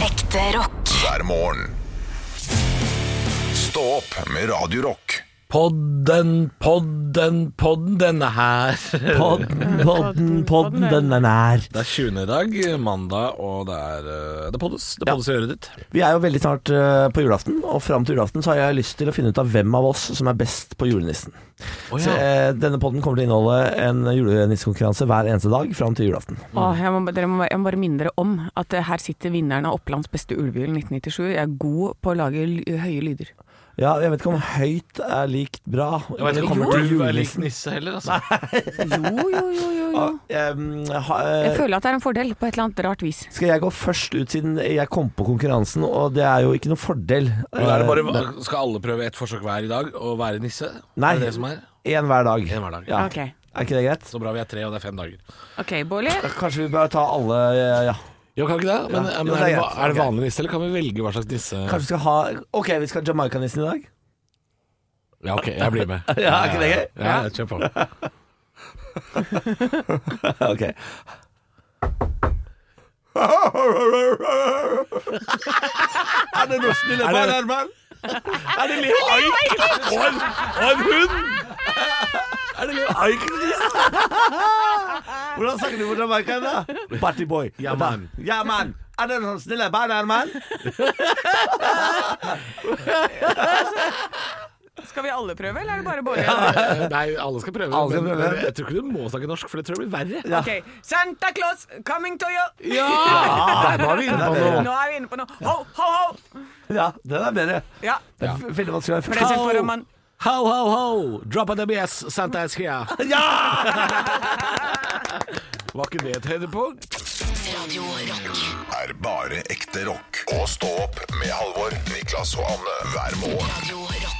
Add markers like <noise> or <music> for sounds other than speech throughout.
Ekte rock. hver morgen. Stå opp med Radio Rock. Podden, podden, podden, denne her. Eh, Podden, podden, podden, den er nær. <laughs> Det er 20. i dag, mandag, og det er eh, Det poddes. Det poddes i øret ditt. Vi er jo veldig snart eh, på julaften, og fram til julaften så har jeg lyst til å finne ut av hvem av oss som er best på julenissen. Å, ja. Så eh, denne podden kommer til å inneholde en julenissekonkurranse hver eneste dag fram til julaften. Åh, jeg, må, dere må, jeg må bare minne dere om at eh, her sitter vinneren av Opplands beste ulvejul 1997. Jeg er god på å lage l høye lyder. Ja, jeg vet ikke om høyt er likt bra. Jeg vet når det ikke om kommer til ulv er lik julenissen. nisse heller, altså. Jo, jo, jo, jo. jo. Ja, em, ha- eh, Jeg føler at det er en fordel, på et eller annet rart vis. skal jeg gå først ut siden jeg kom på konkurransen, og det er jo ikke noen fordel. Men er det Eh, bare, skal alle prøve ett forsøk hver i dag og være nisse? Nei. Er det det som er? En hver dag. En hver dag. Ja. Ok, Er ikke det greit? Så bra vi er tre, og det er fem dager. ok, Bårli. Kanskje vi bør ta alle eh, ja. Jo, kan ikke det? Men, Ja. eh, Jo, men er, det er det, greit. va- er det vanlig nisse, eller kan vi velge hva slags nisse Kanskje vi skal ha Ok, vi skal ha Jamaica-nissen i dag? Ja, ok, jeg blir med. Ja, er ikke det gøy? <laughs> Ja, ja, kjør på. <laughs> Ok Er det norsk <laughs> i Er det- Herman? Er det Liv Eiken og en, hund? Er det Liv Eiken? Hvordan snakker du på Jamaica <laughs> da? Partyboy Ja, man. Ja, man Er det noen snille barn, Herman? Skal vi alle prøve, eller er det bare Bårli? Nei, alle skal prøve. Alle skal men- prøve. men Jeg tror ikke du må snakke norsk, for det tror jeg blir verre. Ok, Santa Claus coming to you! Ja! Der var vi inne på Ja. noe. Nå er vi inne på noe. Ho, ho, ho! Ja, den er bedre Ja, Det er f- veldig vanskelig å for det være ser for om man Ho, ho, ho! Drop an ABS, Santa is here. Ja! Var ikke det et høydepunkt? Radio Rock. Er bare ekte rock. Og stå opp med Halvor, Niklas og Anne hver morgen. Radio Rock.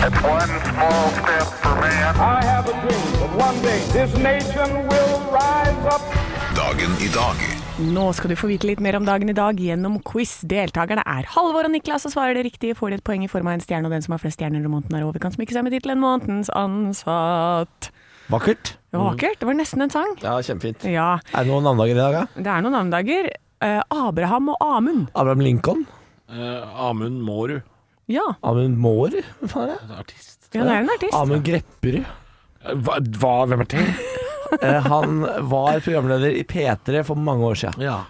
One small step for man. I have a dream that one day this nation will rise up. Dagen i dag. Nå skal du få vite litt mer om dagen i dag gjennom quiz. Deltakerne er Halvor og Niklas, og svarer det riktige får de et poeng i form av en stjerne, og den som har flest stjerner når måneden er over, kan smykke seg med tittelen 'Månedens ansatt'. <laughs> Vakkert Det var vakkert. Det var nesten en sang. Ja, kjempefint Er Ja, det noen navndager i dag, da? det er noen navnedager. Eh, Abraham og Amund. Abraham Lincoln Eh, Amund Mårud. Ja, Amund Mård Hva er det? Artist. ja, det er en artist. Amund Grepperud Hva, hva, hvem er det? Eh, Han var programleder i P3 for mange år siden Ja.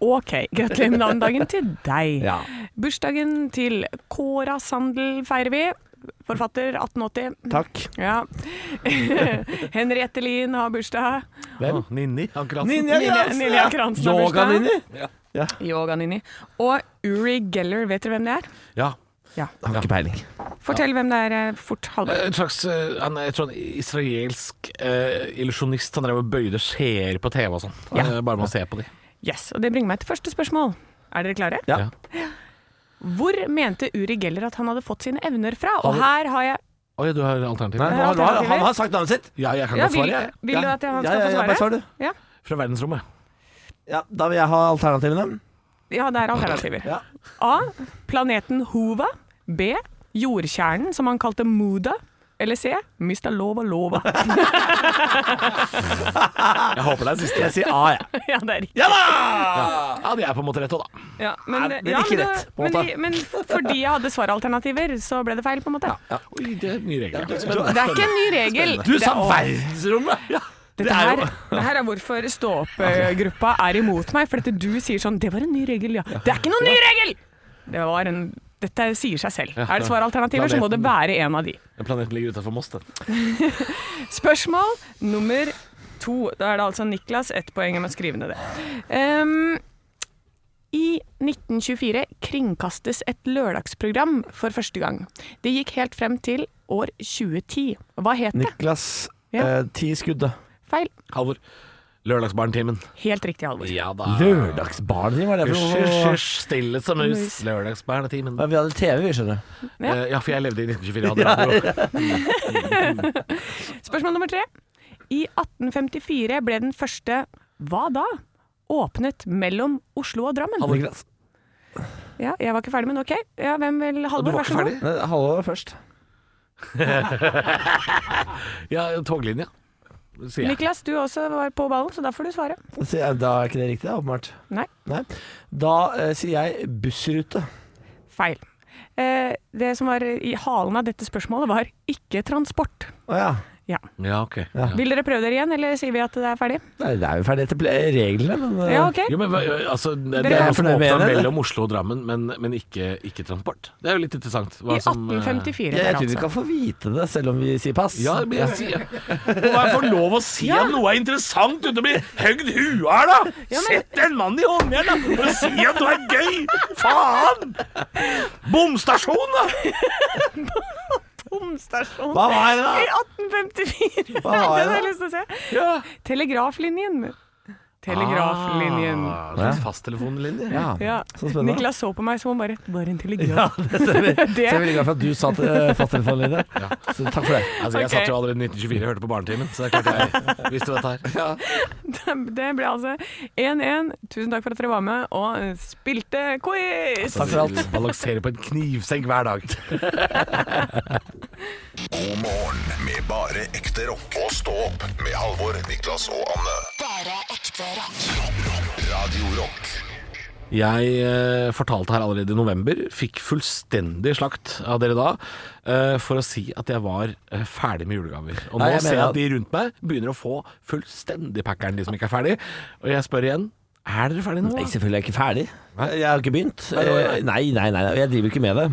Ok, gratulerer med navnedagen til deg. Ja. Bursdagen til Kåra Sandel feirer vi. Forfatter 1880. Takk Ja. <laughs> Henriette Lien har bursdag. Hvem? Ninni. Akkurat. Ninja Nilja- Nilja Kransen har bursdag. Yoga-Ninja Yoga Nini. Og Uri Geller, vet dere hvem det er? Ja. Ja. Har ikke peiling Fortell hvem det er eh, fort, Halvor. En slags eh, han er, jeg tror han er israelsk eh, illusjonist. Han drev og bøyde skjeer på TV og sånn. Ja. Eh, Bare med å se på de. Yes, og det bringer meg til første spørsmål. Er dere klare? Ja. Hvor mente Uri Geller at han hadde fått sine evner fra? Og her har jeg Oi, du har alternativ? Nei, Det er han, har, alternativer. han har sagt navnet sitt. Ja, jeg kan ja, godt vil, svare, jeg. vil du at han skal ja, ja, bare få svare? svar, du. Ja. Fra verdensrommet. Ja, da vil jeg ha alternativene. ja, det er alternativer. Ja. A. Planeten Hova. B. Jordkjernen, som han kalte Muda. Eller C. Mista lova lova. Jeg håper det er siste. Jeg sier A, jeg. <laughs> ja, det er riktig. Ja da! Ja, de er på en måte rett òg, da. Ja, men, Nei, det er ja, ikke men, rett, det- på en men, måte. de- men fordi jeg hadde svaralternativer, så ble det feil, på en måte. Oi, det er nye regler. Det er ikke en ny regel. Du Det- sa Åh, verdensrommet! Ja. Dette her, det her er hvorfor stå-opp-gruppa er imot meg. For dette du sier sånn 'Det var en ny regel', ja. Det er ikke noen ny regel! Det var en, dette sier seg selv. Er det svaralternativer, så må det være en av de. Den planeten ligger utafor Moss, den. Spørsmål nummer to. Da er det altså Niklas ett poeng. Jeg må skrive ned det. Ehm, I 1924 kringkastes et lørdagsprogram for første gang. Det gikk helt frem til år 2010. Hva het det? Niklas, Ja. eh, ti skudd. da. Feil. Halvor. Lørdagsbarntimen. Helt riktig, Halvor. Ja da. Lørdagsbarn, var det Hysj, for hysj, noe? hysj, stille som mus. Lørdagsbarnetimen. Ja, Vi hadde TV, vi, skjønner du. Ja. Eh, Ja, for jeg levde i 1924. Ja, Spørsmål nummer tre. I 1854 ble den første hva da? Åpnet mellom Oslo og Drammen. Halvor Niklas. Ja, jeg var ikke ferdig, men ok. Ja, hvem vil Halvor, vær så god. Nei, Halvor var først. ja, toglinja. sier jeg. Niklas, du også var på ballen, så da får du svare. Så jeg- Da er ikke det riktig, da, åpenbart. Nei, Nei. Da eh, sier jeg bussrute. feil. Eh, det som var i halen av dette spørsmålet, var ikke transport. Å ja. Ja. Ja, ok. Ja. Ja. Vil dere prøve dere igjen, eller sier vi at det er ferdig? Nei, Det er jo ferdig etter ple- reglene, men eh, Ja, ok. Jo, men, hva- altså, det, det Dere- er noe som Fornøyd med åpner det, eller? mellom Oslo og Drammen, men, men ikke, ikke transport. Det er jo litt interessant. I hva som, eh, altså, jeg 1854 der, tror vi altså. kan få vite det selv om vi sier pass. Ja, men jeg sier Og jeg får lov å si at noe er interessant uten å bli høgd huet her, da! Sett en mann i håndjern, da! For å si at noe er gøy! Faen! Bomstasjon, da! Bomstasjon Hva var det, i da? 1854! <laughs> Det Hva har jeg har jeg da? lyst til å se. Telegraflinjen. Telegraflinjen. Ah, det er en Fasttelefonlinje. Ja. Ja. Så spennende. Niklas så på meg som om bare Bare en telegraf. det stemmer. Så <laughs> Det jeg er veldig glad for at du satt eh, fasttelefonen din. Så takk for det. Altså, jeg Ok. satt jo allerede i 1924 og hørte på Barnetimen, så det er klart <laughs> jeg visste dette her. <laughs> Det ble altså 1-1. Tusen takk for at dere var med og eh, spilte quiz! Takk for alt. Vi Balanserer på en knivsegg hver dag. God morgen med bare ekte rock. Og stå opp med Halvor, Niklas og Anne. Bare ekte rock. Radio Rock. Jeg eh, fortalte her allerede i november, fikk fullstendig slakt av dere da, eh, for å si at jeg var eh, ferdig med julegaver. Og nå Nei, jeg ser jeg mener at- at de rundt meg begynner å få fullstendig packeren, de som ikke er ferdig. Og jeg spør igjen, er dere ferdige nå? Jeg da? selvfølgelig er jeg ikke ferdig. Jeg har ikke begynt. Nei, nei, nei. Eh, Nei, nei, nei. Jeg driver ikke med det.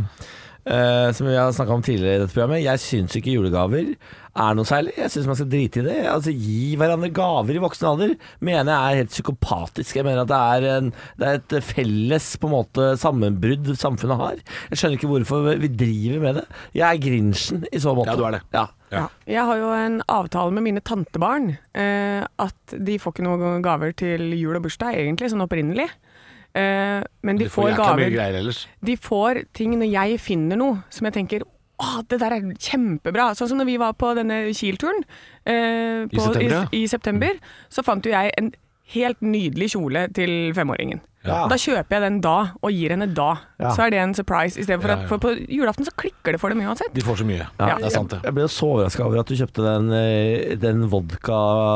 Eh, som vi har snakka om tidligere i dette programmet, jeg syns ikke julegaver er noe særlig. Jeg syns man skal drite i det. Altså Gi hverandre gaver i voksen alder mener jeg er helt psykopatisk. Jeg mener at det er, en, det er et felles på en måte sammenbrudd samfunnet har. Jeg skjønner ikke hvorfor vi driver med det. Jeg er Grinchen i så måte. Ja, du er det. Ja. Ja. Jeg har jo en avtale med mine tantebarn eh, at de får ikke noen gaver til jul og bursdag, egentlig, sånn opprinnelig. Eh, men de, får, jækla mye gaver greier ellers. De får ting når jeg finner noe som jeg tenker Å, det der er kjempebra. Sånn som når vi var på denne Kiel-turen eh, på- september, ja. i, i september, så fant jo jeg en helt nydelig kjole til femåringen. Ja. Da kjøper jeg den da, og gir henne da. Ja. Så er det en surprise. I stedet for Ja, at ja. for på julaften så klikker det for dem uansett. De får så mye. Ja. Det er sant det. Jeg ble jo så overraska over at du kjøpte den, eh, den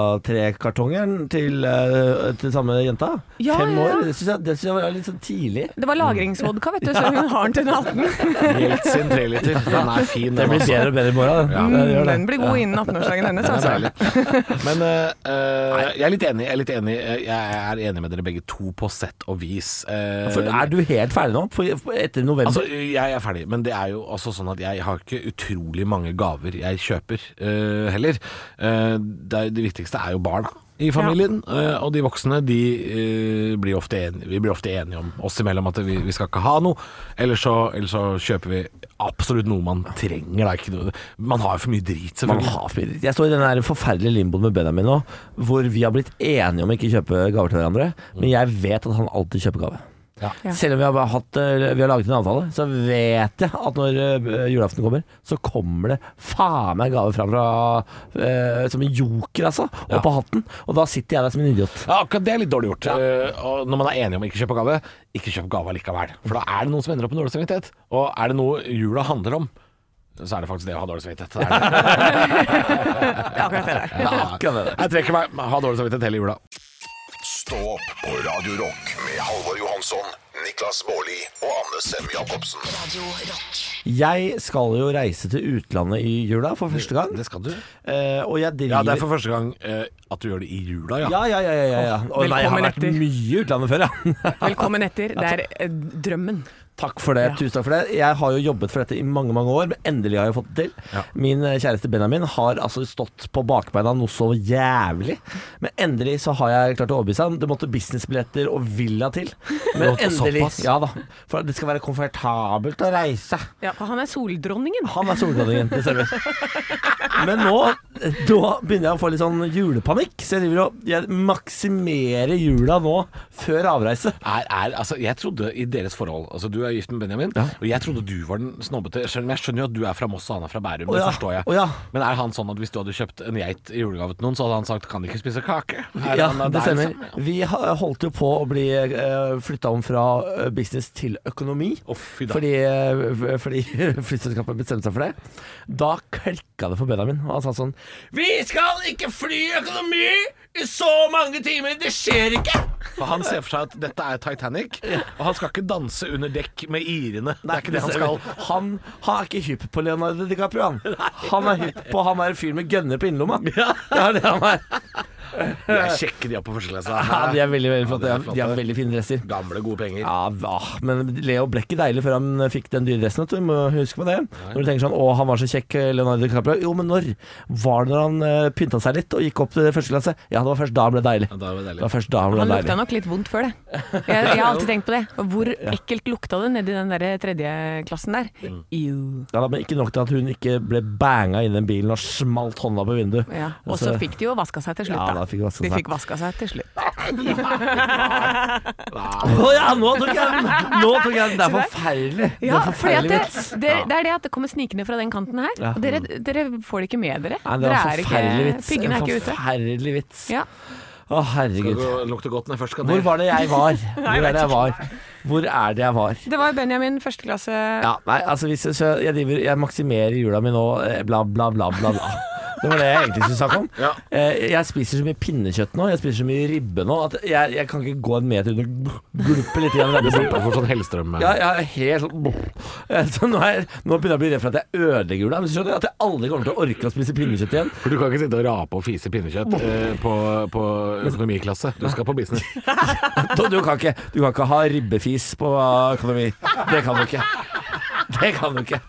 vodka-trekartongeren til, eh, til samme jenta. Ja, Fem ja, ja. år. Det syns jeg, det synes jeg var litt sånn tidlig. Det var lagringsvodka, vet du, så hun har den til den 18. Helt sin <laughs> treliter. Den er fin. Det den, blir altså. bedre og bedre i morgen. Ja. Det gjør det. Mm, Den blir god innen 18-årsdagen hennes, Den er altså. deilig. <laughs> Men eh, eh, jeg er litt enig. Jeg er, litt enig. Eh, jeg er enig med dere begge to på sett og vis. Eh, For er du helt ferdig nå? For, for etter november? Altså, jeg er ferdig, men det er jo også sånn at jeg har ikke utrolig mange gaver jeg kjøper eh, heller. Eh, det, er- det viktigste er jo barna i familien, eh, og de voksne de eh, blir ofte enige, vi blir ofte enige om oss imellom at vi, vi skal ikke ha noe, eller så, eller så kjøper vi absolutt noe man trenger. Da. Ikke noe. Man har jo for mye drit, Man selvfølgelig. har spilt. Jeg står i den der forferdelige limboen med Benjamin nå, hvor vi har blitt enige om ikke å kjøpe gaver til hverandre, men jeg vet at han alltid kjøper gave. Mm. Ja. Ja. Selv om vi har, bare hatt, eh, vi har laget en avtale, så vet jeg at når eh, julaften kommer, så kommer det faen meg gave fram fra eh, Som en joker, altså, opp Ja. av hatten. Og da sitter jeg der som en idiot. Ja, akkurat det er litt dårlig gjort. Eh, og når man er enige om å ikke kjøpe gave, ikke kjøp gave likevel. For da er det noen som ender opp med dårlig samvittighet. Og er det noe jula handler om, så er det faktisk det å ha dårlig samvittighet. Det <laughs> er det. Akkurat det der. akkurat det. Jeg trekker meg. Ha dårlig samvittighet hele jula. Stå opp på Radio Rock med Halvor Johansson, Niklas Baarli og Anne Sem Jacobsen. Radio Rock. Jeg skal jo reise til utlandet i jula for første gang, Det skal du. eh, og jeg driver Ja, det er for første gang eh, at du gjør det i jula, ja. ja, ja, ja, ja, ja. Å, nei, jeg har Velkommen vært etter. mye i utlandet før, ja. <laughs> Velkommen etter. Det er eh, drømmen. Takk for det. Tusen takk for det. Jeg har jo jobbet for dette i mange mange år, men endelig har jeg fått det til. Ja. Min eh, kjæreste Benjamin har altså stått på bakbeina noe så jævlig. Men endelig så har jeg klart å overbevise ham. Det måtte businessbilletter og villa til. Men måtte endelig. såpass. Ja da. For at det skal være komfortabelt å reise. Ja, for han er soldronningen. Han er solkongen, det stemmer. Men nå, nå begynner jeg å få litt sånn panikk, så jeg driver og jeg maksimerer jula nå før avreise. Er, er, altså, jeg trodde i deres forhold Altså, Du er gift med Benjamin, og jeg trodde du var den snobbete. Selv om jeg skjønner jo at du er fra Moss og han er fra Bærum, Å ja, det forstår jeg. å ja. Men er han sånn at hvis du hadde kjøpt en geit i julegave til noen, så hadde han sagt 'kan de ikke spise kake'? Er Ja, han der, det stemmer. liksom? Vi ha- holdt jo på å bli uh, flytta om fra eh, business til økonomi. Å, fy da. Fordi, eh, fordi <laughs> flyselskapet bestemte seg for det. Da klikka det for Benjamin. Og han sa sånn Vi skal ikke fly økonomi i så mange timer! Det skjer ikke! For han ser for seg at dette er Titanic, og han skal ikke danse under dekk med irene. Det er ikke det han skal. Han, han er ikke hypp på Leonardo <laughs> DiCaprio, han. Han er hypp på han der fyren med gønner på innerlomma. Det er det han er. Jeg sjekker de opp på førstelesa. Ja, de er veldig veldig flotte. Ja, de er De har- De har flotte. veldig fine dresser. Gamle, gode penger. Ja, hva? men Leo ble ikke deilig før han fikk den dyre dressen. vet Du Du må huske på det. Når du tenker sånn 'Å, han var så kjekk, Leonardo DiCaprio'. Jo, men når? Var det når han eh, pynta seg litt og gikk opp til første klasse? Ja, det var først da han ble deilig. Ja, da var det deilig. Det var først da han ble Han lukta deilig. nok litt vondt før det. Jeg, jeg har alltid tenkt på det. Hvor ekkelt lukta det nedi den der tredjeklassen der. Mm. Ew. Ja, da, men ikke nok til at hun ikke ble banga inn i den bilen og smalt hånda på vinduet. Ja. Og så fikk de jo vaska seg til slutt, Altså, Ja, da fikk de vaska de seg. fikk vaska seg til slutt. Å ja, nå tok jeg den! Nå tok jeg den. Det er forferdelig. Ja, det er fordi forferdelig at det, vits. det, det er det at det kommer snikende fra den kanten her. Ja. Og dere, dere får det ikke med dere. Nei, det dere var en forferdelig vits. Piggene er En ikke ute. forferdelig vits. Ja. Å, herregud. Det lukter godt når jeg først skal Hvor ned. var det jeg var? Hvor er det jeg var? Hvor er det jeg var? Det var Benjamin førsteklasse Ja, nei, altså hvis jeg, så jeg, driver, jeg maksimerer jula mi nå, eh, bla, bla, bla, bla. bla. Det var det jeg egentlig skulle snakke om. Ja. Eh, Jeg spiser så mye pinnekjøtt nå, jeg spiser så mye ribbe nå, at jeg, jeg kan ikke gå en meter uten å gulpe litt igjen. Du slipper for sånn Hellstrøm. Ja, jeg er helt sånn Eh, Så nå, er, nå begynner jeg å bli redd for at jeg ødelegger jula. Men så skjønner jeg at jeg aldri kommer til å orke å spise pinnekjøtt igjen. For du kan ikke sitte og rape og fise pinnekjøtt eh, på, på økonomiklasse. Du skal på <laughs> business. Du, du, kan ikke, du kan ikke ha ribbefis på økonomi. Det kan du ikke. Det kan du ikke.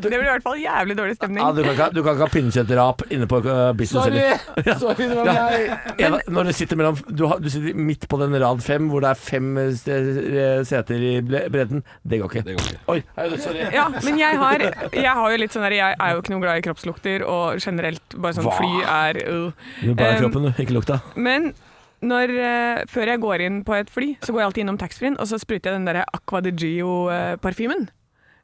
Det blir i hvert fall jævlig dårlig stemning. Ja, du, kan ikke, ha- du kan ikke ha pinnekjøttrap inne på eh, business. heller. Sorry, det <laughs> Ja. Eva, når du sitter, mellom, du, har, du sitter midt på den rad fem, hvor det er fem eh, ste- eh, seter i ble- bredden. Det går ikke. Det går ikke. Oi, hei, sorry. Ja, men jeg har, jeg har jo litt sånn der Jeg er jo ikke noe glad i kroppslukter, og generelt bare sånn Hva? fly er uh. Du bare Um, kroppen, ikke lukta. Men når, eh, før jeg går inn på et fly, så går jeg alltid innom taxfree-en, og så spruter jeg den der Aqua de Gio-parfymen.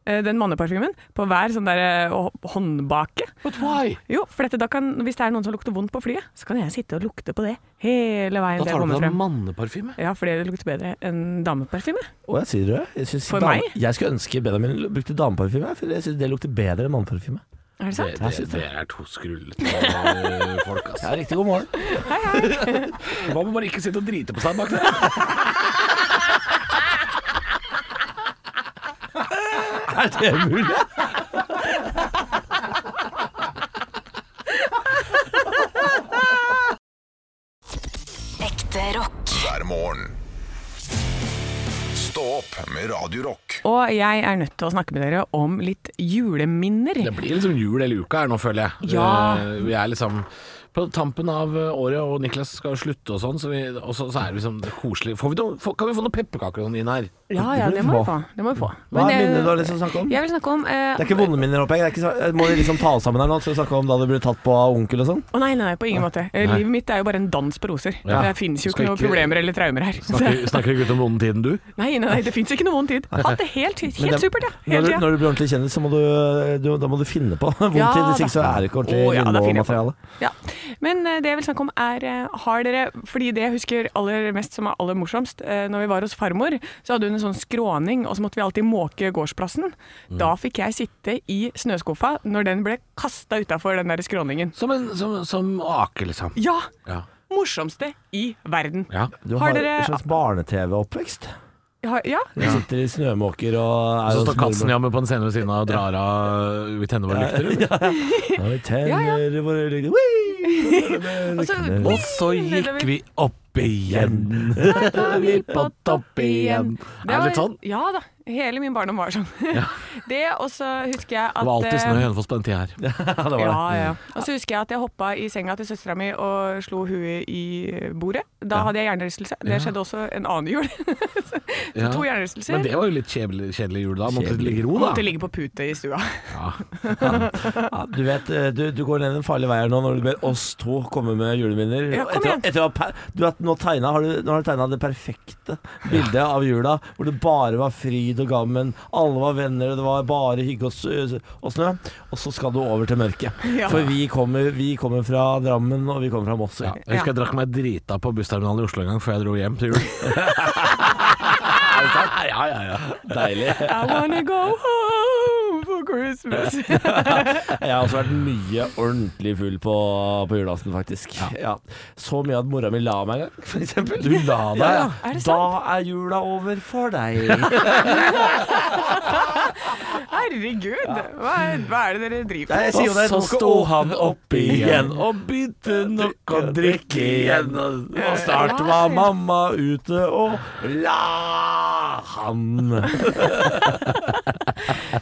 Eh, Den manneparfymen på hver sånn der eh, hå- håndbake. But why? Jo, for dette, da kan, Hvis det er noen som lukter vondt på flyet, så kan jeg sitte og lukte på det hele veien Da tar til jeg du på kommer deg frem. manneparfyme. Ja, fordi det lukter bedre enn dameparfyme. Å, jeg sier det. Jeg, synes For dame- meg? jeg skulle ønske Benjamin brukte dameparfyme, for jeg syns det lukter bedre enn manneparfyme. Er det Det, sant? det, det er to skrullete <laughs> eh, folk, ass. Ja, riktig god morgen. Hva med bare <laughs> ikke sitte og drite på seg bak der? Er det mulig? Ekte rock. hver morgen. Stå opp med Radio Rock. Og jeg er nødt til å snakke med dere om litt juleminner. Det blir liksom jul hele uka her nå, føler jeg. Ja. Eh, Vi er liksom på tampen av eh, året, og Niklas skal jo slutte og sånn, så, vi, og så, så er det liksom koselig. Får vi noe, får, kan vi få noen pepperkaker og sånn inn her? Ja, ja, det må vi få. Det må vi få. Hva Men er jeg- minnet du har lyst til å snakke om? Jeg vil snakke om eh, Det er ikke vonde minner, håper jeg. Det er ikke så- Må vi liksom ta oss sammen her nå til å snakke om da du ble tatt på av onkel og sånn? Å nei, nei, nei, på ingen måte. Eh, Livet mitt er jo bare en dans på roser. Ja. Det fins jo Skal ikke noen ikke- problemer eller traumer her. Snakker, snakker ikke ut om noen tiden, du? <laughs> Nei, nei, nei, det fins ikke noe vond tid. Hatt det helt, Men helt det- supert, ja. Når Hele du, tida. når du blir ordentlig kjendis, så må du, du, da må du finne på <laughs> vondt Ja, tid. Hvis ikke så da. er det ikke ordentlig Å, ja, da finner jeg på. Lindmo-materiale. Ja. Men eh, det jeg vil snakke om er eh, Har dere Fordi det jeg husker aller mest som er aller morsomst eh, Når vi var hos farmor, så hadde hun en sånn skråning, og så måtte vi alltid måke gårdsplassen. Mm. Da fikk jeg sitte i snøskuffa når den ble kasta utafor den der skråningen. Som, en, som, som ake, liksom. Ja! Ja. Morsomste i verden. ja. Du Har har, dere- en slags barne-TV-oppvekst. Ja, ja. Du sitter i snømåker og er Så hos står katten mormor. jammen på en scene ved siden av og drar av eh, Vi tenner våre lykter. eller? Ja, vi tenner Ja, våre lykter Wii! Og så- Knell. Og så gikk vi opp igjen. Der var vi på topp igjen. Er Det det litt var- sånn? Ja da. Hele min barndom var sånn. <laughs> det, og så husker jeg at Det var alltid snø i eh, Hønefoss på den tida her. Ja, det var <laughs> Ja, det. ja. Mm. Og så husker jeg at jeg hoppa i senga til søstera mi og slo huet i bordet. Da hadde jeg hjernerystelse. Det skjedde også en annen jul. <laughs> Ja. to hjernerystelser. Men det var jo litt kjedelig, kjedelig jul da. Måtte det ligge i ro, da. Måtte ligge på pute i stua. Ja, du vet, eh, du, du går ned en farlig vei her nå når du ber oss to komme med juleminner. Ja, kom etter, igjen. etter, å ha per- du vet, nå, tegnet, har du, nå har du tegna det perfekte bildet av jula, hvor det bare var fryd og gammen, alle var venner, og det var bare hygge og, s- eh, og snø. Og så skal du over til mørket. Ja. For vi kommer, vi kommer fra Drammen, og vi kommer fra Moss. Ja. Jeg husker jeg drakk meg drita på bussterminalen i Oslo en gang før jeg dro hjem til jul. ja, ja, ja. Deilig. I wanna go home for <laughs> Christmas. Jeg har også vært mye ordentlig full på, på julaften, faktisk. Ja. Så mye at mora mi la meg en gang, for eksempel. Du la deg, ja? Er det da sant? er jula over for <laughs> deg. Herregud, hva er, hva er det dere driver Nei, med? jeg sier jo det, Og nå så skal sto å- han opp igjen og begynte nok å drikke igjen, Og, snart var mamma ute og la han.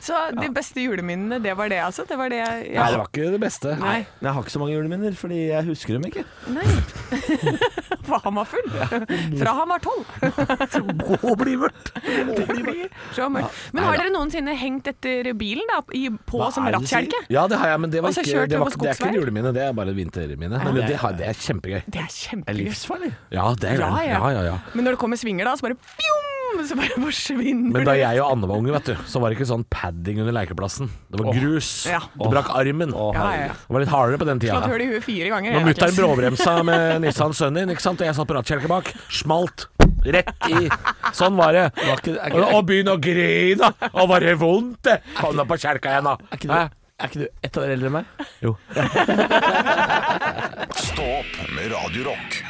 Så de beste juleminnene, det var det, altså? Det var det jeg Nei, det var ikke det beste. Nei. Men jeg har ikke så mange juleminner, fordi jeg husker dem ikke. Nei. <laughs> For han var full. Fra han var tolv. Må bli mørkt. Det blir <laughs> så mørkt. Men har dere noensinne hengt etter bilen da, i, på Hva som er det du sier? rattkjelke? Ja, det har jeg, men det, var Og så ikke, kjørte det, vi var, ikke- det på er ikke skogsveier. julermine, det er bare vintermine. Men det, det, har, det er kjempegøy. Det er Det er kjempegøy. livsfarlig. Ja, det er Ja, gøy. ja. Ja, ja, ja. Men når det kommer svinger da, så bare fjom, så bare forsvinner Men da det. jeg og Anne var unge, vet du, så var det ikke sånn padding under lekeplassen. Det var grus. Ja. Du brakk armen. Ja, ja, ja. Det var litt hardere på den tida. Slått hull i huet fire ganger. Når jeg, mutter'n Atlas. bråbremsa med Nissan Sunny, ikke sant? og jeg satt på rattkjelke bak, smalt rett i. Sånn var det. Var ikke- er ikke- Og, og begynn å grine! Å, var det vondt, det? Kom nå på kjelka igjen, da. Er ikke du, er ikke du ett år eldre enn meg? Jo. Stå opp med Radio Rock.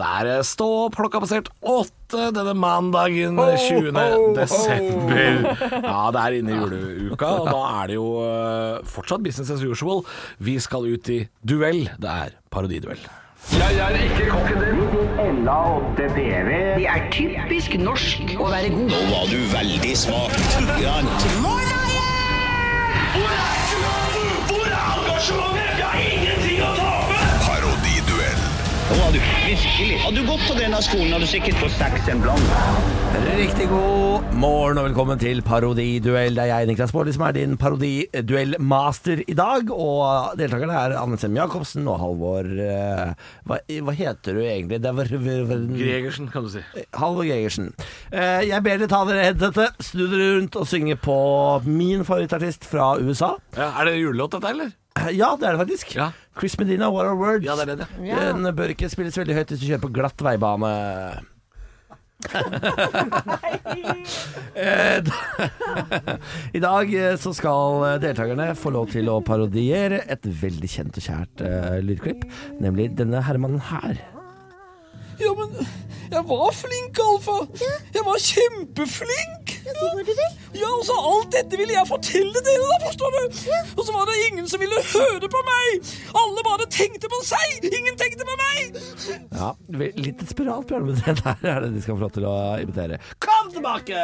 Det er eh, stå opp, klokka har passert åtte denne mandagen 20. desember. Ja, det er inne i juleuka, og da er det jo eh, fortsatt business as usual. Vi skal ut i duell. Det er parodiduell. Det er typisk norsk å være god. Nå var du veldig smak. Grann. Hvor er engasjementet? Hvor er engasjementet? Jeg har ingenting å tape! Parodiduell. Nå var du virkelig. Hadde du gått på denne skolen, hadde du sikkert fått seks en blant. Riktig god morgen og velkommen til Parodiduell. Det er jeg, Niklas Baarli, som er din parodiduellmaster i dag. Og deltakerne er Anne Sem Jacobsen og Halvor eh, hva, hva heter du egentlig? Det var, Gregersen, kan du si. Halvor Gregersen. Eh, jeg ber dere ta dere headsetet, snu dere rundt og synge på min favorittartist fra USA. Ja, er det julelåt, dette, eller? Eh, <clears throat> Ja, det er det faktisk. Ja. Chris Medina, What Are Words. Ja, det er det, ja. Ja. Den bør ikke spilles veldig høyt hvis du kjører på glatt veibane. Eh, da- <laughs> I dag eh, så skal eh, deltakerne få lov til å parodiere et veldig kjent og kjært eh, lydklipp, nemlig denne herremannen her. Ja, men jeg var flink, Alfa. Jeg var kjempeflink. Ja, og så alt dette ville jeg fortelle dere, da, forstår du. Og så var det ingen som ville høre på meg. Alle bare tenkte på seg. Ingen tenkte på meg. Ja, ve- litt desperat, Bjørn, men det der er det de skal få lov til å imitere. Kom tilbake!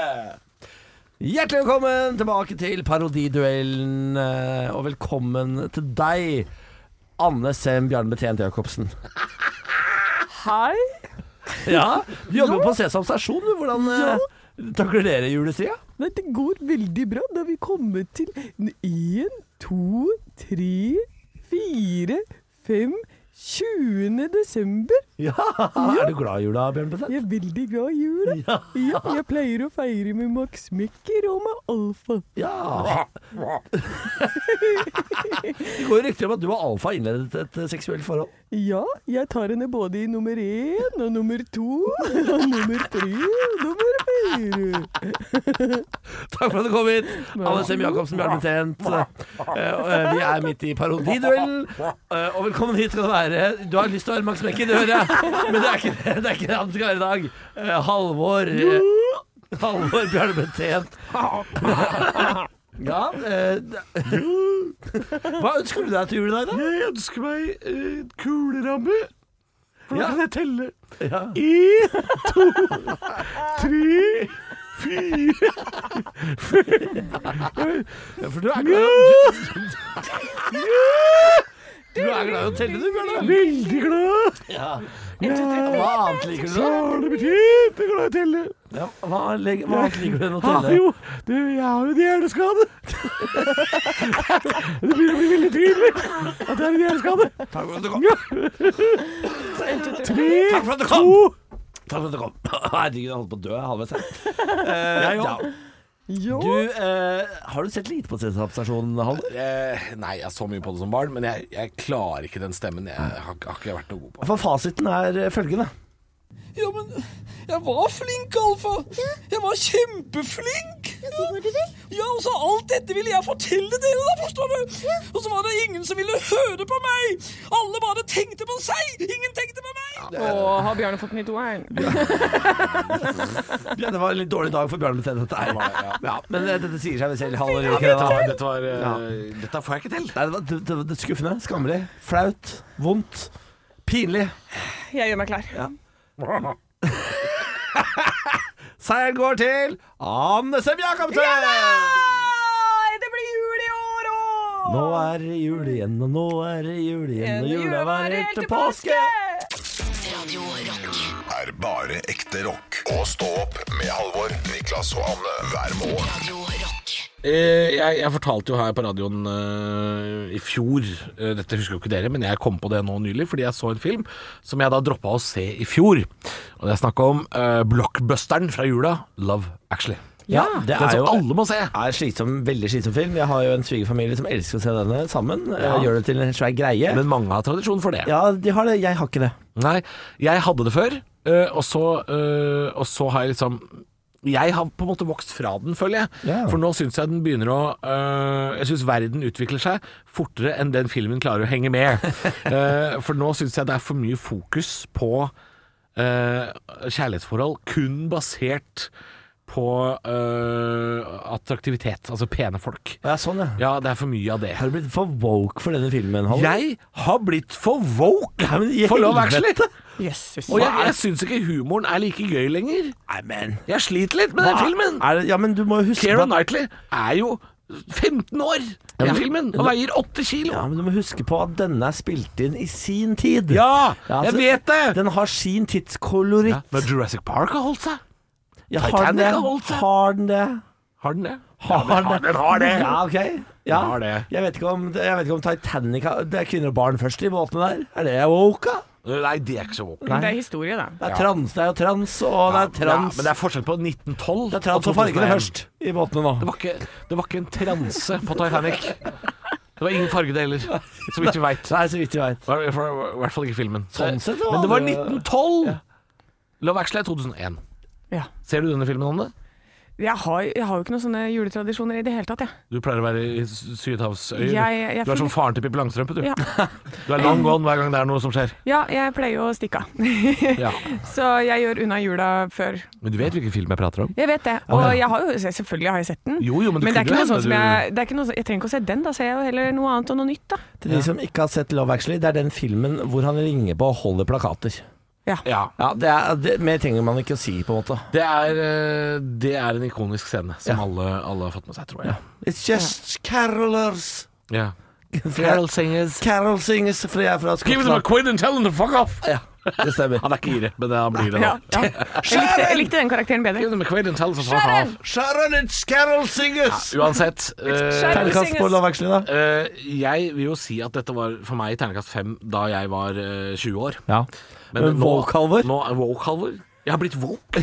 Hjertelig velkommen tilbake til parodiduellen, eh, og velkommen til deg, Anne Sem Bjarne Betjent Jacobsen. Hei. <laughs> Ja, <laughs> du jobber på Sesam stasjon, du. Hvordan eh, takler dere julestria? Dette går veldig bra. Da har vi kommet til én, to, tre, fire, fem 20. desember. Ja. Er du glad i jula, Bjørn Betjent? Jeg er veldig glad i jula. Ja. jeg pleier å feire med Max Mekker og med Alfa. Ja. <laughs> Det går rykter om at du og Alfa har innledet et eh, seksuelt forhold. Ja, jeg tar henne både i nummer én og nummer to og nummer tre og nummer fire. <laughs> Takk for at du kom hit. Anne Sem Jacobsen, Bjarne Tent. eh, Vi er midt i parodiduellen. Eh, Og velkommen hit skal du være. Du har lyst til å være Max Mekken, det hører jeg. Men det er ikke det, det, er ikke det han skal være i dag. Eh, Halvor eh, Halvor Bjarne Tent. Ja eh, Hva ønsker du deg til jul i dag, da? Jeg ønsker meg eh, kuleramme. For nå Ja. kan jeg telle. Ja. En, to, tre, fire For du er glad Du er glad i å telle, du, Bjørnar. Veldig glad. Hva annet liker du? Så har det blitt kjempeglad i å telle. Ja, hva, leg- hva annet liker du enn å Har telle? jo, du, jeg har jo en <laughs> hjerneskade. Det begynner å bli veldig tydelig at jeg har en hjerneskade. Takk for at du kom. Tre, Takk for at du kom. to Takk for at du kom. <laughs> Herregud, jeg holdt på å dø halvveis her. Eh, ja. Du, eh, har du sett lite på Sesam-stasjonen, Halvor? Eh, nei, jeg så mye på det som barn, men jeg, jeg klarer ikke den stemmen. Jeg har, har ikke vært noe god på For fasiten er eh, følgende. Ja, men jeg var flink, Alfa. Jeg var kjempeflink. Ja, og så alt dette ville jeg fortelle dere, da, forstår du. Og så var det ingen som ville høre på meg. Alle bare tenkte på seg. Ingen tenkte på meg. Å, har Bjarne fått den i toeren? Ja, det var en litt dårlig dag for Bjørn med dette her. Ja, men eh, dette sier seg vel selv. Halvor, gjør ikke det, Dette, da? var, dette, var, eh, dette får jeg ikke til. Nei, det var det, det, det, skuffende, skammelig, flaut, vondt, pinlig. Jeg gjør meg klar. Seieren går til Anne Sem Jacobsen! Nei, det blir jul i år òg! Nå er det jul igjen, og nå er det jul igjen, og jula var helt til påske. Radio Rock. er bare ekte rock. Og stå opp med Halvor, Niklas og Anne hver morgen. Radio Rock. <laughs> Eh, jeg, jeg fortalte jo her på radioen eh, i fjor eh, Dette husker jo ikke dere, men jeg kom på det nå nylig fordi jeg så en film som jeg da droppa å se i fjor. Og det er snakk om eh, blockbusteren fra jula, 'Love Actually'. Ja, Den det er som jo alle må se. er slitsom, veldig slitsom film. Jeg har jo en svigerfamilie som elsker å se denne sammen. eh, Gjør det til en svær greie. Men mange har tradisjon for det. ja, de har det. Jeg har ikke det. Nei, jeg hadde det før, øh, og, så, øh, og så har jeg liksom jeg har på en måte vokst fra den, føler jeg. Ja. For nå syns jeg den begynner å øh, Jeg syns verden utvikler seg fortere enn den filmen klarer å henge <laughs> med. Eh, for nå syns jeg det er for mye fokus på eh, kjærlighetsforhold kun basert på eh, attraktivitet, altså pene folk. Ja, sånn, ja. Ja, det er for mye av det. Har du blitt for woke for denne filmen? Halvor? Jeg har blitt for woke Nei, men i for Love helvete. Actually! Jesus. Og jeg, jeg syns ikke humoren er like gøy lenger. Nei, men Jeg sliter litt med den Hva filmen. Er det, ja, men du må jo huske på Keira at- Knightley er jo 15 år i men- filmen og veier 8 kilo. Ja, men du må huske på at denne er spilt inn i sin tid. Ja, Ja, jeg altså, vet det! Den har sin tidskoloritt. Men Jurassic Park har holdt seg. Ja, har Titanic den det? har holdt seg. Har den det? Har den det? Har den, den har det. Ja, ok. Ja. Den har det. Jeg vet, ikke om, jeg vet ikke om Titanic har Det er kvinner og barn først i båtene der. Er det woke, da? Nei, det er ikke så woke. Det er historie, da. Det er trans, det er jo trans, og det er trans. men det er forskjell på 1912 det er trans og fargene 2001. først i Det båtene nå. var, ikke, det var ikke en transe på Titanic. Det var ingen farge, det heller. Så vidt vi veit. Nei, så vidt jeg veit. I hvert fall ikke filmen. Sånn sett var Men det var det- 1912! Love Actually er 2001. Ja. Ser du denne filmen, Anne? Jeg har, jeg har jo ikke noen sånne juletradisjoner i det hele tatt, jeg. Du pleier å være i s- Sydhavsøyer. Jeg- jeg du er som føler- faren til Pippi Langstrømpe, du. <laughs> Ja. Du er long gone hver gang det er noe som skjer. Ja, jeg pleier jo å stikke av. <laughs> Ja. Så jeg gjør unna jula før. Men du vet hvilken film jeg prater om? Jeg vet det. Og jeg har jo, selvfølgelig har jeg sett den. Jo, jo, men det det er kunne jo ikke noe sånn hende som du- jeg, det er ikke noe, sånn- jeg trenger ikke å se den, da ser jeg jo heller noe annet og noe nytt, da. Til de som ikke har sett Love Actually, det er den filmen hvor han ringer på og holder plakater. Ja. Ja, det er, det, Mer trenger man ikke å si, på en måte. Det er, eh, det er en ikonisk scene som Ja. alle, alle har fått med seg, tror jeg. It's just carolers. Ja. Carol, Carol singers Carol singers, for jeg er fra Give them a Skottland. quid and tell them to fuck off! Ja, det stemmer. Han er ikke ire, men han blir det Ja, nå. ja. Jeg, likte, jeg likte den karakteren bedre. Give them a quid and tell them to fuck off. Sharon, it's Carol singers! Uansett eh, Terningkast på Love Actually, da. eh, Jeg vil jo si at dette var for meg terningkast fem da jeg var eh, 20 år. Ja. Men nå- woke, Halvor? Nå er woke, Halvor. Jeg har blitt woke.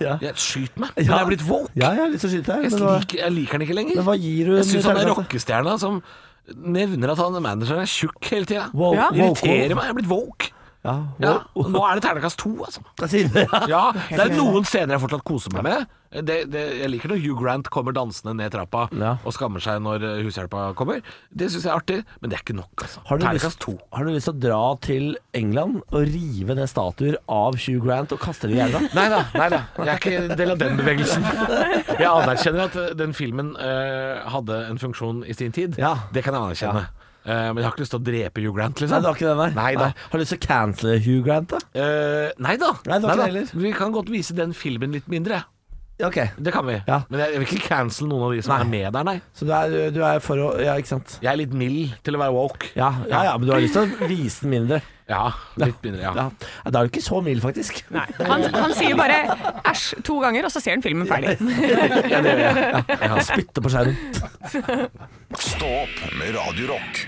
Ja. Jeg skyter meg, men jeg har blitt woke. Ja, jeg har lyst til å skyte Jeg deg. Men, hva- liker, jeg liker den ikke lenger. men hva gir du Jeg syns han er terningkastet? rockestjerna som nevner at han manageren er tjukk hele tida. Woke- Ja. woke- Irriterer meg. Jeg er blitt woke. Ja, Ja, og woke- nå er det terningkast to, altså. Jeg sier det, ja. <laughs> Ja, det er noen scener jeg fortsatt koser meg med. Det, det, jeg liker når Hugh Grant kommer dansende ned trappa Ja. og skammer seg når eh, hushjelpa kommer. Det syns jeg er artig, men det er ikke nok, altså. Har du, lyst, Terningkast to. har du lyst til å dra til England og rive ned statuer av Hugh Grant og kaste dem i elva? Nei da, nei da. Jeg er ikke en del av den <laughs> bevegelsen. Jeg anerkjenner at eh, den filmen eh, hadde en funksjon i sin tid. Ja. Det kan jeg anerkjenne. Eh, men jeg har ikke lyst til å drepe Hugh Grant, liksom. Nei, det var ikke den der. Nei da. Har du lyst til å cancele Hugh Grant, da? Eh, nei da. Nei, det var da. ikke det heller. Vi kan godt vise den filmen litt mindre. Ok. Det kan vi. Ja. Men jeg, jeg vil ikke cancel noen av de som Nei. er med der, nei. Så du er, du er for å Ja, ikke sant? Jeg er litt mild til å være woke. Ja, ja, ja, men du har lyst til å vise den mindre. Ja, litt mindre, ja. Ja. Ja, Da er du ikke så mild, faktisk. Nei. Han, han sier bare 'æsj' to ganger, og så ser han filmen ferdig. Ja. Spytte på skjermen. Stå opp med Radio Rock.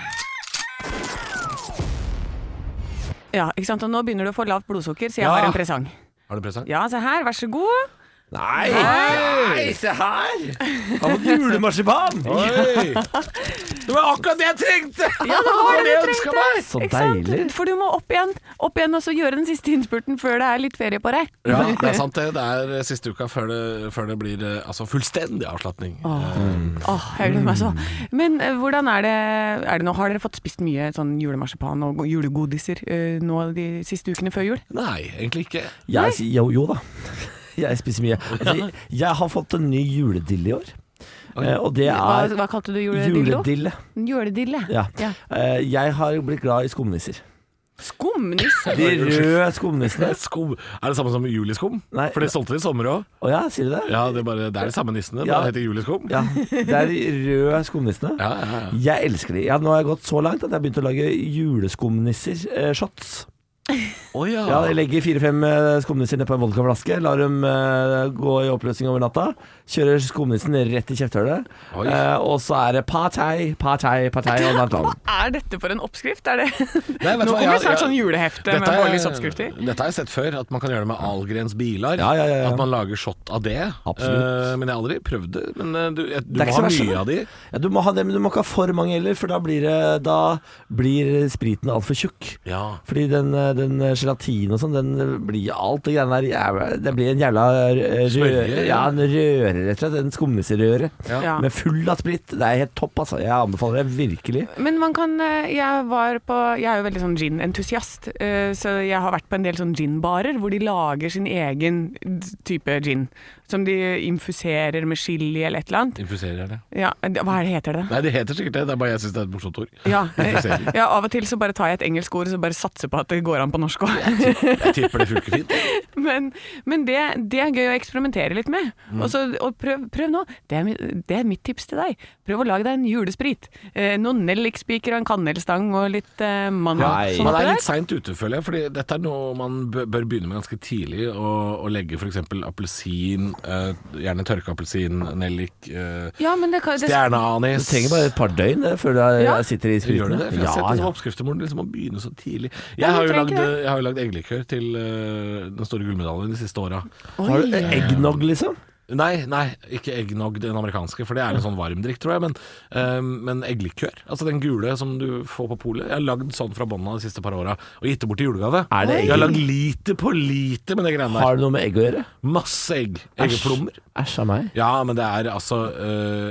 Ja, ikke sant? Og nå begynner du å få lavt blodsukker, så jeg Ja. har en presang. Har du presang? Ja, se her, vær så god. Nei! Nei, se her! Han fått julemarsipan! Oi! Det var akkurat det jeg trengte! Ja, det var det du ønsket trengte! Så Ikke sant? deilig. For du må opp igjen, opp igjen og så gjøre den siste innspurten før det er litt ferie på deg. Ja, det er sant det. Det er eh, siste uka før det, før det blir eh, altså, fullstendig avslapning. Eh, Åh, jeg gleder meg så. Mm. Men eh, hvordan er det, er det nå? Har dere fått spist mye sånn julemarsipan og julegodiser eh, nå de siste ukene før jul? Nei, egentlig ikke. Jeg, sier- jo, jo da. Jeg spiser mye. Altså, jeg har fått en ny juledille i år. Eh, Og det Hva, er hva kalte du juledildo? juledille. Juledille? Ja. Ja. Eh, Jeg har blitt glad i skumnisser. Skumnisse? De røde skumnissene. Skum. Er det samme som juliskum? Nei. For det solgte det i sommer òg. Å ja, sier du det? Ja, det, er bare- det er de samme nissene, Ja. bare heter juliskum. Ja. Det er de røde skumnissene. Ja, ja, ja. Jeg elsker de. Ja, nå har jeg gått så langt at jeg har begynt å lage juleskumnisser-shots. Å ja. Ja, jeg legger fire-fem eh, skumnisser ned på en vodkaflaske, lar dem eh, gå i oppløsning over natta, kjører skumnissen rett i kjefthølet, Oi. eh, og så er det partei, partei, partei all natt lang. Er dette for en oppskrift? Er det? <laughs> Nei, vet du hva, Nå kommer jeg- det snart jeg- sånn julehefte Dette med er- Bårdlis oppskrifter. Dette har jeg sett før, at man kan gjøre det med Algrens biler. Ja, ja, ja, ja. At man lager shot av det. Absolutt. Eh, men jeg har aldri prøvd det. Men eh, du, jeg, du Det må er ikke så ha verst, mye da. av de. Ja, du må ha det, men du må ikke ha for mange heller, for da blir, det, da blir spriten altfor tjukk. Ja. Fordi den, eh, den gelatin og sånn, den blir alt det greiene der jævla- Det blir en jævla eh, røre, Smørje, ja, ja. en røre, rett og slett. En skumnisserøre. Ja. Med full av sprit. Det er helt topp, altså. Jeg anbefaler det virkelig. Men man kan eh, Jeg var på Jeg er jo veldig sånn gin-entusiast, eh, så jeg har vært på en del sånn gin-barer hvor de lager sin egen type gin. Som de infuserer med chili eller et eller annet. Infuserer det. Ja, hva er det heter det? Nei, det heter sikkert det. Det er bare jeg syns det er et morsomt ord. Ja, eh, Infuserer. ja, av og til så bare tar jeg et engelsk ord og bare satser på at det går an på norsk òg. Jeg tipper det funker <laughs> fint. <laughs> Men, men det, det er gøy å eksperimentere litt med. Mm. Og, så, og prøv, prøv nå. Det er, mi- det er mitt tips til deg. Prøv å lage deg en julesprit. Eh, noen nellikspiker og en kannelstang og litt eh, mandel. Nei. sånn Man oppi er der. litt seint ute, føler jeg. Fordi dette er noe man bø- bør begynne med ganske tidlig. Å å legge f.eks. appelsin, eh, gjerne tørka appelsin, nellik, eh, Ja, men det kan, det, Du stjerneanis trenger bare et par døgn eh, før du er, Ja. sitter i Gjør spriten. det det? For jeg har sett det som oppskrifter hvor det liksom må begynne så tidlig. Jeg har men jo trenger lagd, ikke det. jeg har jo lagd eggelikør til eh, den store gullmedaljen de siste åra. Har du eh, eggnog, liksom? Nei, nei, ikke eggnog den amerikanske, for det er en sånn varmdrikk, tror jeg. Men, eh, men eggelikør. Altså den gule som du får på polet. Jeg har lagd sånn fra bånn av de siste par åra, og gitt det bort i julegave. Er det egg- jeg har lagd lite på lite med det greiene der. Har det noe med egg å gjøre? Masse egg. Eggeplommer. Æsj av meg. Ja, men det er altså øh,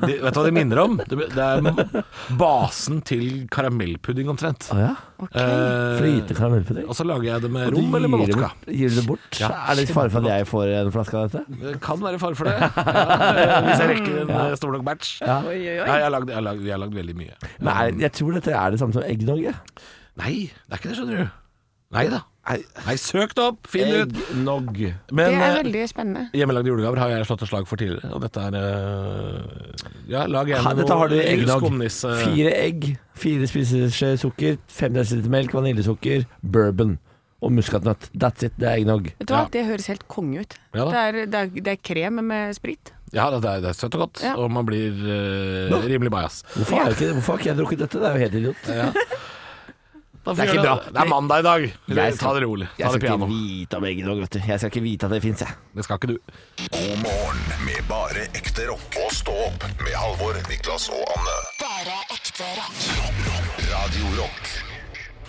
det, Vet du hva det minner om? Det, det er basen til karamellpudding omtrent. Å ja. Eh, Flyte karamellpudding. og så lager jeg det med rom eller med Gir det vodka. bort- Gir du det bort? Er det ikke fare for at jeg får en flaske av dette? Det kan være fare for det. Ja, hvis jeg rekker en eh, stor nok batch. Ja. Oi, oi, oi. jeg har lagd- jeg har lagd- jeg har lagd veldig mye. Nei, jeg tror dette er det samme som eggnog. jeg. Nei, det er ikke det, skjønner du. Nei da. Nei, søk det opp, Eh, finn det ut. Eggnog. det Men er eh, veldig spennende. hjemmelagde julegaver har jeg slått et slag for tidligere, og dette er eh, Ja, lag Ha, gjerne dette har du i eggnog. skumnisse. Fire egg, fire spiseskjeer sukker, fem desiliter melk, vaniljesukker, bourbon og muskatnøtt. That's it, det er eggnog. Vet du hva, det høres helt konge ut. Ja da. det, er, det, er, det er krem med sprit. Ja, det er, det er søtt og godt, Ja. og man blir eh, rimelig bajas. Hvorfor har jeg ikke, hvorfor har ikke jeg drukket dette? Det er jo helt idiot. Eh, Det ikke bra. Det er mandag i dag. Jeg Ta skal- det rolig. Ta Jeg det skal piano. ikke vite om eggnog, vet du. Jeg skal ikke vite at det fins, jeg. Det skal ikke du. God morgen med bare ekte rock. Og stå opp med Halvor, Niklas og Anne. Bare ekte rock. Radio Rock.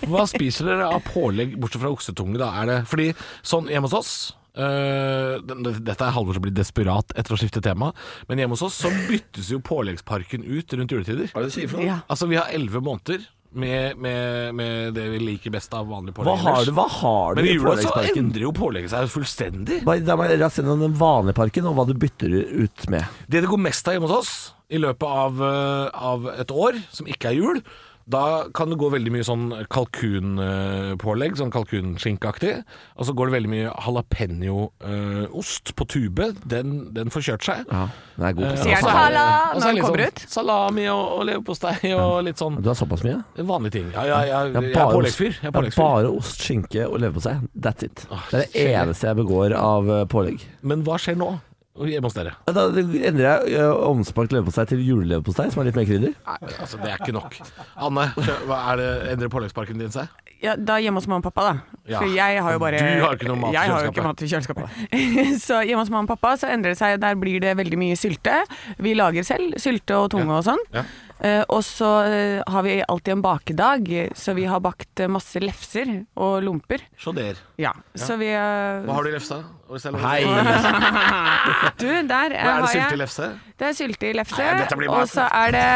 Hva spiser dere av pålegg bortsett fra oksetunge, da? Er det fordi sånn hjemme hos oss øh, den- den- dette er Halvor som blir desperat etter å skifte tema, men hjemme hos oss så byttes jo påleggsparken ut rundt juletider. Hva er det du sier for Ja. Altså, vi har elleve måneder med, med, med det vi liker best av vanlige pålegg. Hva har ellers. du, hva har Men du i i jula så påleggsparken? endrer jo pålegget seg fullstendig. Bare- Da må jeg raskt gjennom den vanlige parken og hva du bytter ut med. Det det går mest av hjemme hos oss, i løpet av, eh, av et år, som ikke er jul, da kan det gå veldig mye sånn kalkunpålegg, sånn kalkunskinkeaktig. Og så går det veldig mye jalapeño-ost på tube. Den, den får kjørt seg. Den er god. på Eh, salt. og Sier så den er det- hala og så er det når den kommer litt ut? sånn Salami og, og leverpostei og litt sånn Du har såpass mye? vanlige ting. Ja, ja, ja, Jeg har jeg er bare påleggsfyr. Jeg ost- er jeg har påleggsfyr. bare ost, skinke og leverpostei. That's it. Åh, Det er det kjedelig. eneste jeg begår av eh, pålegg. Men hva skjer nå hjemme hos dere? Da endrer jeg eh, omspakt leverpostei til juleleverpostei, som er litt mer krydder. Nei, altså Det er ikke nok. Anne, hva er det, endrer påleggsparken din seg? Ja, da hjemme hos mamma og pappa, da. Ja. For jeg har jo bare Du har ikke noe mat i Jeg har jo kjøleskapet. ikke mat i kjøleskapet. <laughs> så hjemme hos mamma og pappa så endrer det seg. Der blir det veldig mye sylte. Vi lager selv sylte og tunge og sånn. Ja. Eh, og så eh, har vi alltid en bakedag, så vi har bakt eh, masse lefser og lomper. Se der. Ja. Så vi eh, Hva har du i lefsa? Og selv om- Hei! <laughs> Du, der eh, Hva er det har jeg sylte i lefse? Det er sylte i lefse. Nei, dette blir bare- Og så er det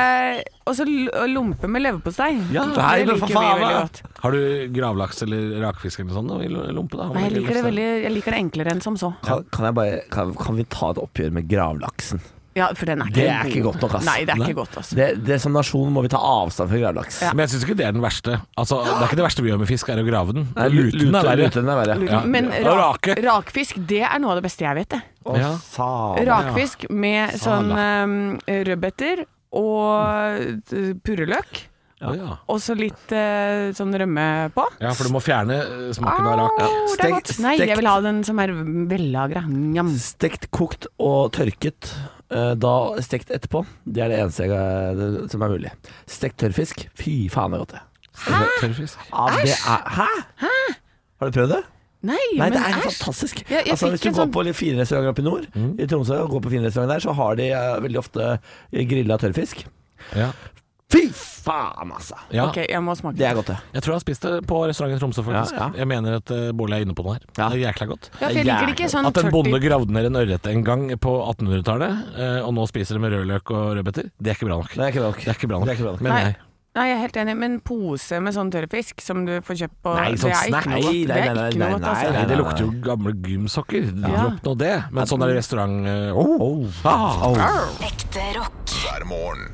Og så l- lompe med leverpostei. Ja, det nei, men liker for vi faen, veldig da. godt. Har du gravlaks eller rakfisk eller noe sånt da, i lompe? da? Har Nei, man jeg i liker det lefse? veldig Jeg liker det enklere enn som så. Kan, kan, jeg bare, kan, kan vi ta et oppgjør med gravlaksen? Ja, for den er ikke Det er ikke godt nok, ass. Nei, det er ikke godt, ass. Det, det Som nasjon må vi ta avstand fra gravlaks. Ja. Men jeg syns ikke det er den verste. Altså, det er ikke det verste vi gjør med fisk, er å grave den. Nei, lu- Luten er verre. luten er verre. Ja. Men Og rak, rake. rakfisk, det er noe av det beste jeg vet, det. Å, Ja. sa- Rakfisk med sånn eh, rødbeter og eh, purreløk, Å, ja. og så litt eh, sånn rømme på. ja, for du må fjerne eh, smaken av rak. Au, det er Stekt- godt. Nei, jeg stekt- vil ha den som er vellagra. Njam. Stekt, kokt og tørket. Eh, Da stekt etterpå. Det er det eneste jeg, eh, som er mulig. Stekt tørrfisk. Fy faen, det er godt. det. Hæ? Tørrfisk. Ja, det er, hæ? Har du prøvd det? Nei, Nei, det men er æsj. fantastisk. Ja, jeg altså, fikk hvis du en går sånn- på litt fine restauranter oppe i nord, i Tromsø, og går på fine restauranter der, så har de eh, veldig ofte grilla tørrfisk. Ja. Fy faen, altså! Ja. Ok, jeg må smake. Det er godt, det. Jeg tror jeg har spist det på restaurant i Tromsø, faktisk. Ja, ja. Jeg mener at uh, Bård er inne på noe her. Ja. Det er jækla godt. Ja, for jeg liker det ikke sånn At en bonde tørt i- gravde ned en ørret en gang på 1800-tallet, eh, og nå spiser det med rødløk og rødbeter, det er ikke bra nok. Det er ikke bra nok. Det er ikke bra nok, Det er ikke bra nok. mener Nei. jeg. Nei, jeg er helt enig, men pose med sånn tørrfisk som du får kjøpt på Nei, sånn det er ikke snack. noe Nei, godt. nei, Det er nei, ikke nei, noe godt, nei, altså. Nei, det lukter jo gamle gymsokker. Ja. Dropp nå det. Men sånn er det i restaurant eh, oh. Ah, au. Ekte rock. hver morgen.